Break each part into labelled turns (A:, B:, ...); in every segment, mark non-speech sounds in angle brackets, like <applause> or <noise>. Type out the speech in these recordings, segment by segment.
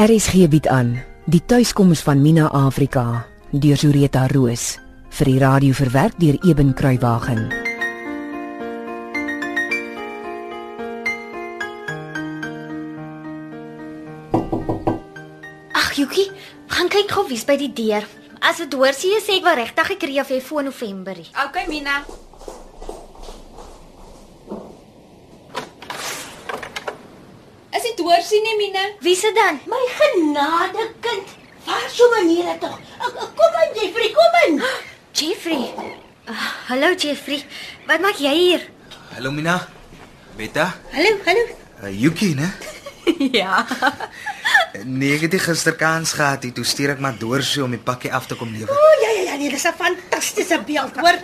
A: RSG bied aan die tuiskoms van Mina Afrika deur Zureta Roos vir die radio verwerk deur Eben Kruiwagen.
B: Ag Yuki, gaan kyk gou wie's by die deur. As dit Dorsie is, sê ek wel regtig ek kry af jy voor November. nie.
C: Okay, Mina. Is dit doorsie nie, Mina?
B: Wie se dan?
D: My genade kind, waar sou maniere tog? Ek- ek- Kom in, Jeffrey, kom in.
B: Jeffrey. Ah, Hallo Jeffrey. Wat maak jy hier?
E: Hallo Mina. Beta,
B: Hallo, hallo.
E: uh, Yuki, né?
C: Ja.
E: Nee, ek het nie gister kans gehad nie. Toe stuur ek maar deur so om die pakkie af te kom lewer.
D: O ja ja ja, nee, dis 'n fantastiese beeld, hoor.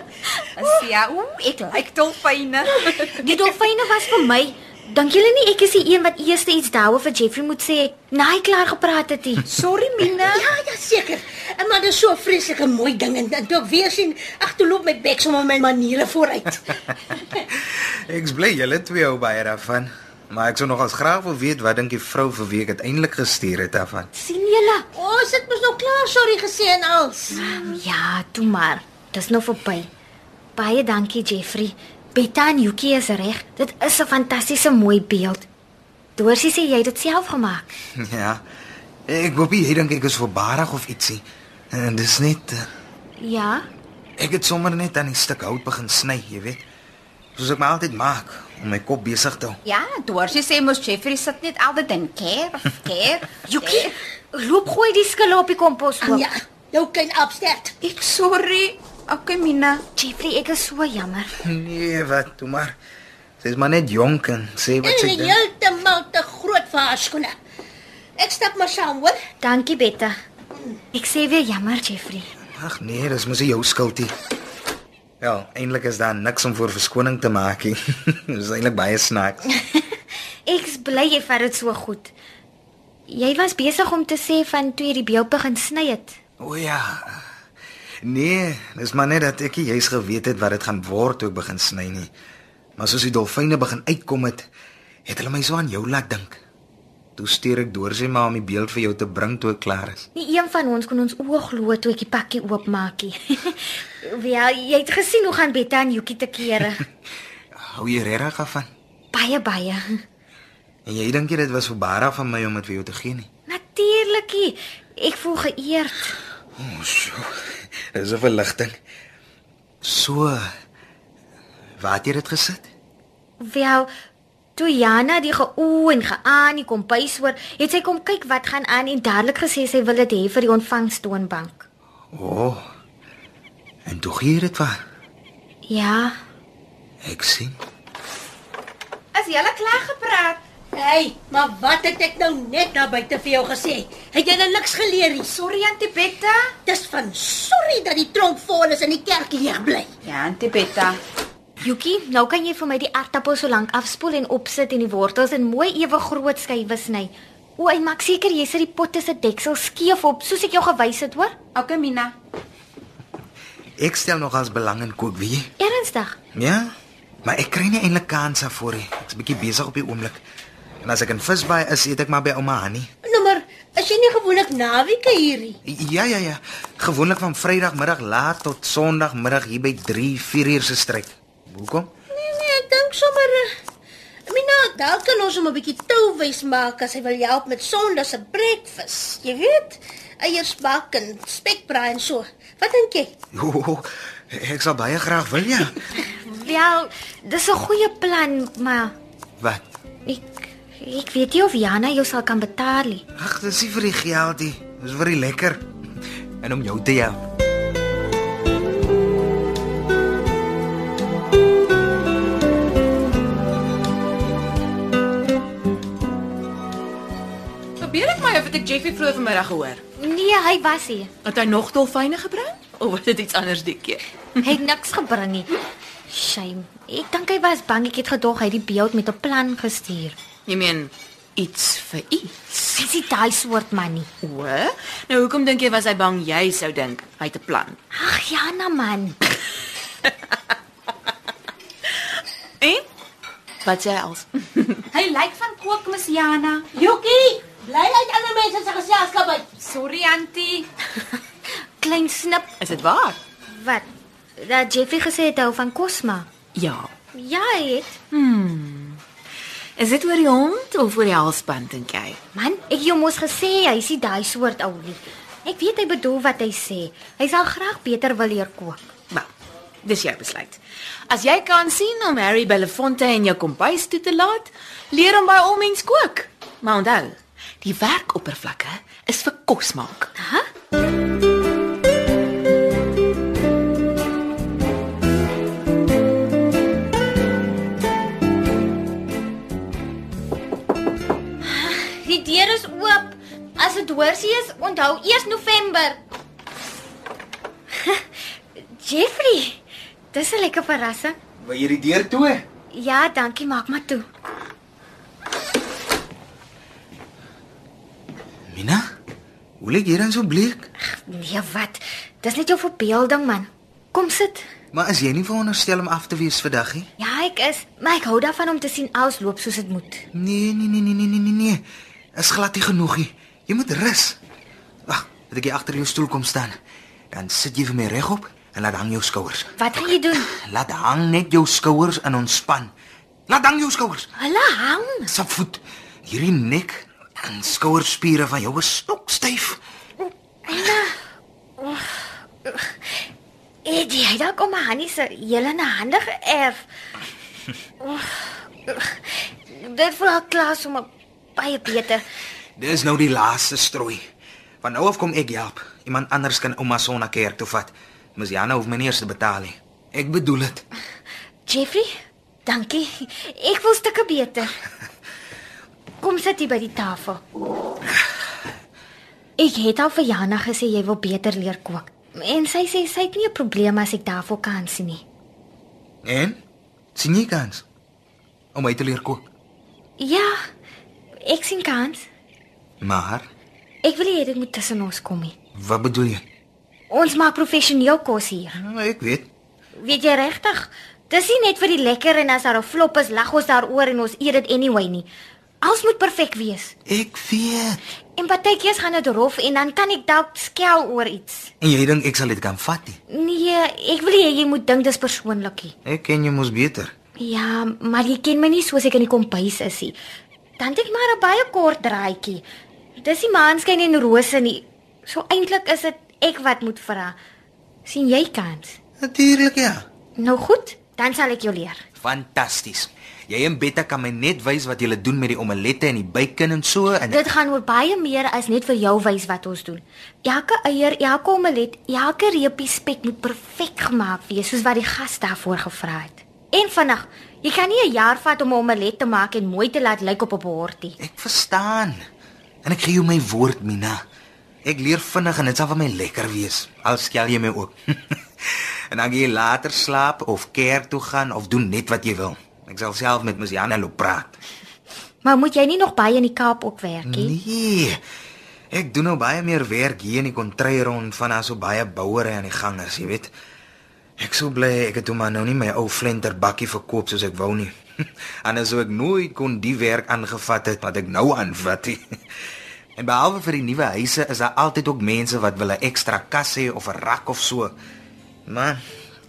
C: Is ja, ooh, ek lyk dolfyne.
B: <laughs> Die dolfyne was vir my. Dink julle nie ek is die een wat eers iets daaroor vir Jeffrey moet sê na hy klaar gepraat het nie?
C: Sorry, Mina.
D: Ja ja, seker. En maar dis so 'n vreeslike mooi ding en en toe ek weer sien, ag, toe loop my bek sommer my maniere vooruit.
C: <laughs>
E: Ek's bly julle twee hou baie daarvan. Maar ek sou nogals graag wil weet wat dink die vrou vir wie ek uiteindelik gestuur het daarvan. <laughs>
B: sien julle?
D: Ons het mos nou klaar sorry gesê en als.
C: Ah,
B: Ja, toe maar. Dis nou verby. Baie dankie Jeffrey. Betta en Yuki is reg. Dit is 'n fantastiese mooi beeld. Dorsie sê jy het dit self gemaak.
E: ja. Ek hoop nie jy dink ek is verbaasig of ietsie. En dis net eh,
B: Ja.
E: ek het sommer net aan 'n stuk hout begin sny, jy weet. Soos ek my altyd maak om my kop besig te hou.
C: Ja, doorsie sê mos Jeffrey sit net altyd in kerf, kerf.
B: <laughs> Yuki, loop gooi die skille op die kompos
D: Ag
B: oop.
D: ja, jou kind afstert.
C: Ek sorry. Okay, Mina.
B: Jeffrey, ek is so jammer.
E: Nee, wat, toe maar. Sy is maar net jonk en sê wat sy
D: En
E: dink.
D: heeltemal te groot vir haar skoene. Ek stap maar saam, hoor.
B: Dankie Betta. Ek sê weer jammer Jeffrey.
E: Ag nee, dis mos nie jou skuld nie. Wel, eintlik is daar niks om voor verskoning te maak nie. <laughs> dis eintlik baie snaaks.
B: Ek's bly jy vat dit so goed. Jy was besig om te sê van toe jy die beeld begin sny het.
E: O ja. Nee, dis maar net dat ek nie juis geweet het wat dit gaan word toe ek begin sny nie. Maar soos die dolfyne begin uitkom het, het hulle my so aan jou laat dink. Toe stuur ek deur sy ma om die beeld vir jou te bring toe ek klaar is.
B: Nie een van ons kon ons oë glo toe ek die pakkie oopmaak <laughs> nie. Ja, jy het gesien hoe gaan Betta en Yuki te
C: <laughs>
B: kere.
E: Hou jy regtig daarvan?
B: Baie baie.
E: En jy dink jy dit was verbara van my om dit vir jou te gee nie?
B: Natuurlikie. Ek voel geëerd.
E: O, Oh, sjoe. Dis 'n verligting. So waar het jy dit gesit?
B: Wel, toe Jana die geoe en geaan die kombuis hoor, het sy kom kyk wat gaan aan en dadelik gesê sy wil dit hê vir die ontvangstoonbank.
E: O. Oh, en tog hier dit waar.
B: Ja,
E: Ek sien.
C: Is jy al klaar gepraat?
D: Hey, maar wat het ek nou net daar buite vir jou gesê? Het jy nou niks geleer nie?
C: Sorry, Auntie Betta.
D: Dis van sorry dat die tronk vol is en die kerk leeg bly.
C: Ja, Auntie Betta.
B: Yuki, nou kan jy vir my die aartappel so lank afspoel en opsit en die wortels in mooi ewe groot skywe sny. O, en maak seker jy sit die potte se deksel skeef op soos ek jou gewys het, hoor?
C: Okay, Mina.
E: Ek stel nog as belang in kook, weet jy?
B: Ernstig.
E: Ja. Maar ek kry nie eintlik kans daarvoor nie. Ek's bietjie besig op die oomblik. En as ek in visbaai is, eet ek maar by ouma Hani.
D: Nou maar, as jy nie gewoonlik naweke hierdie.
E: Ja ja ja. Gewoonlik van Vrydagmiddag laat tot Sondagmiddag hier by 3, 4 uur se stryd. Hoekom? <laughs>
D: Nee nee, ek dink sommer eh, Mina, dalk kan ons hom 'n bietjie touwys maak as hy wil help met Sondag se breakfast. Jy weet, eiersbak en spekbraai en so. Wat dink jy?
E: O, oh, oh, ek sal baie graag wil ja.
B: Wel, Ja, dis 'n goeie plan, maar
E: Wat?
B: ek ek weet nie of Jana jou sal kan betaal nie.
E: Ag, dis nie vir die geld nie. Dis vir die lekker. En om jou te help.
F: Probeer ek my of het ek Jeffy vroeër vanmiddag gehoor.
B: Nee, hy was hier.
F: Het hy nog dolfyne gebring of was dit iets anders die keer?
B: Hy het niks gebring nie. Shame. Ek dink hy was bang ek het gedog hy het die beeld met 'n plan gestuur.
F: Jy meen iets vir iets.
B: Dis nie daai soort man nie.
F: O, nou hoekom dink jy was hy bang jy sou dink hy het 'n plan?
B: Ag Jana man.
F: En wat sê hy als?
C: Hy lyk van kookmis Jana.
D: Jokie, Bly uit ander mense se geselskap uit.
C: Sorry auntie.
B: Klein snip.
F: <laughs> Is dit waar?
B: Wat? Dat Jeffrey gesê het hy hou van Cosma.
F: Ja.
B: Ja, hy het.
F: Is dit oor die hond of oor die halsband en jy?
B: Man, ek het jou mos gesê hy is nie daai soort ou nie. Ek weet hy bedoel wat hy sê. Hy sal graag beter wil leer kook.
F: Wel, dis jou besluit. As jy kan sien om Harry Belafonte in jou kombuis toe te laat, leer hom by al mens kook. Maar onthou, die werkoppervlakke is vir kos maak.
B: Die deur is oop. As dit hoorsie is, onthou eers November. <laughs> Jeffrey, dis 'n lekker verrassing.
E: Wil jy die deur toe?
B: Ja, dankie, maak maar toe.
E: Mina, hoe lyk jy dan so bleek?
B: Nee, wat? Dis net jou verbeelding, man. Kom sit.
E: Maar is jy nie veronderstel om af te wees vandag nie?
B: Ja, ek is, maar ek hou daarvan om te sien alles loop soos dit moet.
E: Nee, nee, nee, nee, nee, nee, nee, nee. Is glad nie genoeg nie. Jy moet rus. Wag, dat ek hier agter jou stoel kom staan. Dan sit jy vir my regop en laat hang jou skouers.
B: Wat gaan jy doen?
E: Laat hang net jou skouers en ontspan. Laat hang jou skouers.
B: Hulle hang.
E: Sap voet. Hierdie nek en skouerspiere van jou is stokstyf.
B: Eddie, Eh, hy dalk om Hannie se hele na hande geërf. Dit voel al klaar so maar baie beter.
E: Dis nou die laaste strooi. Van nou af kom ek help. Iemand anders kan ouma Sonna kerk toe vat. Ms Jana hoef my nie eers te betaal nie. Ek bedoel dit.
B: Jeffrey, dankie. Ek voel stukke beter. Kom sit hier by die tafel. Ek het al vir Jana gesê jy wil beter leer kook. En sy sê sy het nie 'n probleem as ek daarvoor kan sien nie.
E: En sien jy kans om my te leer kook?
B: Ja, ek sien kans.
E: Maar
B: Ek wil nie hê dit moet tussen ons kom nie.
E: wat bedoel jy?
B: Ons maak professioneel kos hier.
E: Nou, ek weet.
B: Weet jy regtig? Dis nie net vir die lekker en as daar 'n flop is, lag ons daaroor en ons eet dit anyway nie. Alles moet perfek wees.
E: Ek weet.
B: En partykeer gaan dit rof en dan kan ek dalk skel oor iets.
E: En jy dink ek sal dit kan vat? nie?
B: Nee, ek wil nie hê jy moet dink dis persoonlikie.
E: Ek ken jou mos beter.
B: Ja, maar jy ken my nie soos ek in die kombuis is nie. Dan het ek maar 'n baie kort draaitjie. Dis die maanskyn en rose nie. So eintlik is dit ek wat moet vra. sien jy kans?
E: Natuurlik ja.
B: Nou goed, dan sal ek jou leer.
E: Fantasties. Jy en Betta kan my net wys wat jy doen met die omelette en die bacon en so en
B: Dit gaan oor baie meer as net vir jou wys wat ons doen. Elke eier, elke omelet, elke reepie spek moet perfek gemaak wees soos wat die gas daarvoor gevra het. En vinnig, jy kan nie 'n jaar vat om 'n omelet te maak en mooi te laat lyk op 'n bordjie.
E: ek verstaan. En ek gee jou my woord, Mina. Ek leer vinnig en dit sal vir my lekker wees. Al skel jy my ook. <laughs> en dan gaan jy later slaap of kerk toe gaan of doen net wat jy wil. Ek sal self met Ms Jana loop praat.
B: Maar moet jy nie nog baie in die Kaap ook werk nie?
E: Nee. Ek doen nou baie meer werk hier in die kontry rond van daar so baie bouere aan die gang is, jy weet. Ek sou bly ek het hom maar nou nie my ou flenter bakkie verkoop soos ek wou nie. <laughs> Anders sou ek nooit kon die werk aangevat het wat ek nou aanvat het. <laughs> En behalwe vir die nuwe huise is daar altyd ook mense wat wil 'n ekstra kas hê of 'n rak of so. Maar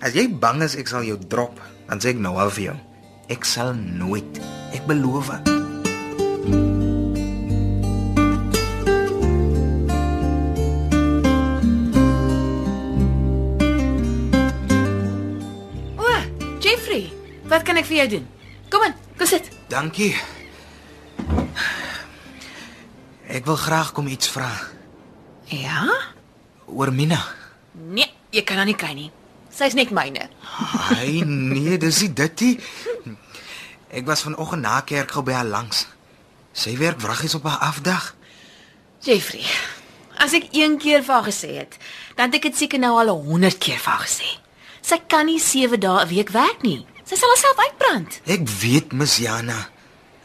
E: as jy bang is ek sal jou drop, dan sê ek nou al vir jou. Ek sal nooit. Ek beloof. Het.
F: O, Jeffrey, wat kan ek vir jou doen? Kom in, kom sit.
E: Dankie. Ek wil graag kom iets vra
F: Ja?
E: oor Mina.
F: Nee, jy kan haar nie kry nie. Sy's net myne.
E: Ai nee, dis nie dit nie. Ek was vanoggend na kerk gou by haar langs. Sy werk wraggies op haar afdag.
F: Jeffrey, as ek een keer vir haar gesê het, dan het ek dit seker nou al 100 keer vir haar gesê. Sy kan nie 7 dae 'n week werk nie. Sy sal haarself uitbrand.
E: Ek weet Ms Jana.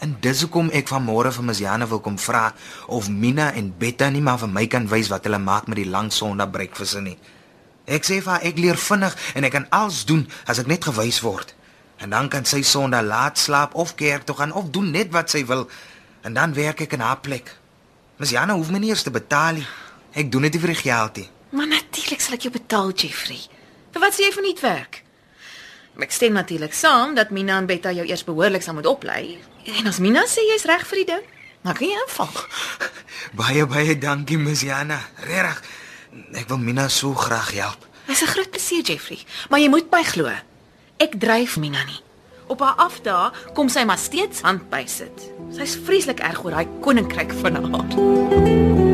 E: En dis hoekom ek vanmôre vir Ms Jana wil kom vra of Mina en Betta nie maar vir my kan wys wat hulle maak met die lang Sondag breakfast nie. Ek sê vir haar ek leer vinnig en ek kan alles doen as ek net gewys word. En dan kan sy Sondag laat slaap of kerk toe gaan of doen net wat sy wil en dan werk ek in haar plek. Ms Jana hoef my nie eers te betaal nie. Ek doen dit nie vir die geld nie. <laughs>
F: Maar natuurlik sal ek jou betaal, Jeffrey. Vir wat sê jy van nie werk? Maar Ek stem natuurlik saam dat Mina en Betta jou eers behoorlik sal moet oplei. En as Mina sê jy's reg vir die ding, dan kan jy inval.
E: Baie baie dankie Ms Jana. Regtig. Ek wil Mina so graag help.
F: Dit is 'n groot plesier, Jeffrey, maar jy moet my glo. Ek dryf Mina nie. Op haar afdae kom sy maar steeds hand by sit. Sy's vreeslik erg oor daai koninkryk van haar.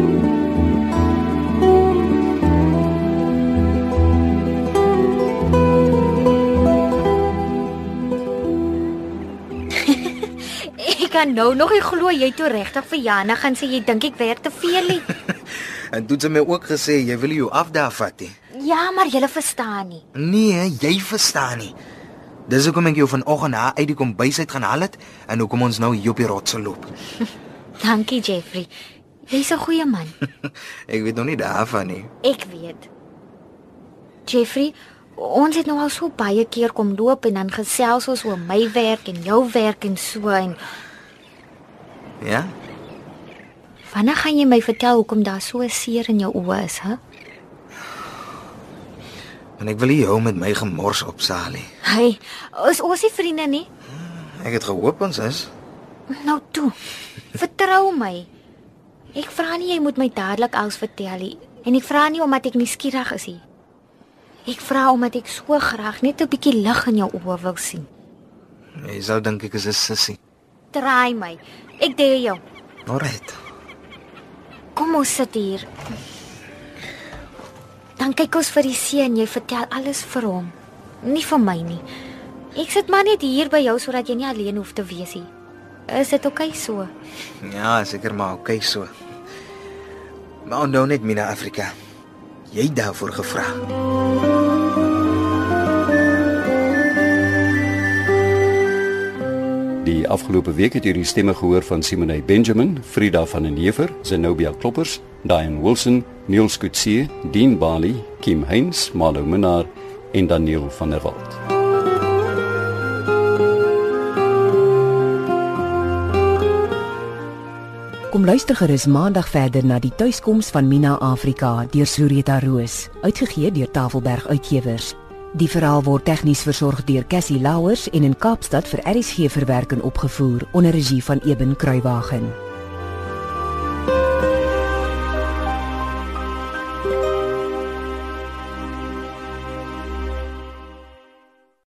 B: <laughs> Ek kan nou nog nie glo jy toe regtig vir Jana gaan sê jy dink ek werk te veel nie.
E: En toe het sy my ook gesê jy wil jou af daar vat hè.
B: Ja, maar jy verstaan nie.
E: Nee, jy verstaan nie. Dis hoekom ek jou vanoggend haar uit die kombuis uit gaan haal het en hoekom ons nou hier op die rotse loop. <laughs>
B: Dankie Jeffrey. Jy's 'n goeie man.
E: ek weet nog nie daarvan nie.
B: Ek weet. Jeffrey, ons het nou al so baie keer kom loop en dan gesels ons oor my werk en jou werk en so en
E: Ja?
B: wanneer gaan jy my vertel hoekom daar so 'n seer in jou oë is, hè?
E: En ek wil nie jou met my gemors opsaal nie.
B: Hey, is ons nie vriende nie?
E: Ek het gehoop ons is.
B: Nou toe. Vertrou my. Ek vra nie jy moet my dadelik alles vertel nie en ek vra nie omdat ek nuuskierig is nie. Ek vra omdat ek so graag net 'n bietjie lig in jou oë wil sien.
E: Jy sou dink ek is 'n sissie.
B: Draai my. Ek deel jou.
E: Alrite.
B: Kom ons sit hier. Dan kyk ons vir die seun, jy vertel alles vir hom, nie vir my nie. Ek sit maar net hier by jou sodat jy nie alleen hoef te wees nie. Is dit oukei okay so?
E: Ja, seker maar, okay so. Maar onthou net Mina Afrika. Jy het daarvoor gevra.
G: Die afgelope week het hierdie stemme gehoor van Simone Benjamin, Frida van den Heever, Zenobia Kloppers, Diane Wilson, Neil Skutse, Dean Bali, Kim Heinz, Malo Menar en Daniel van der Walt.
A: Kom luister gerus maandag verder na die tuiskoms van Mina Afrika deur Sureta Roos, uitgegee deur Tafelberg Uitgewers. Die verhaal word tegnies versorg deur Cassie Louwers en in Kaapstad vir RSG verwerk en opgevoer onder regie van Eben Kruiwagen.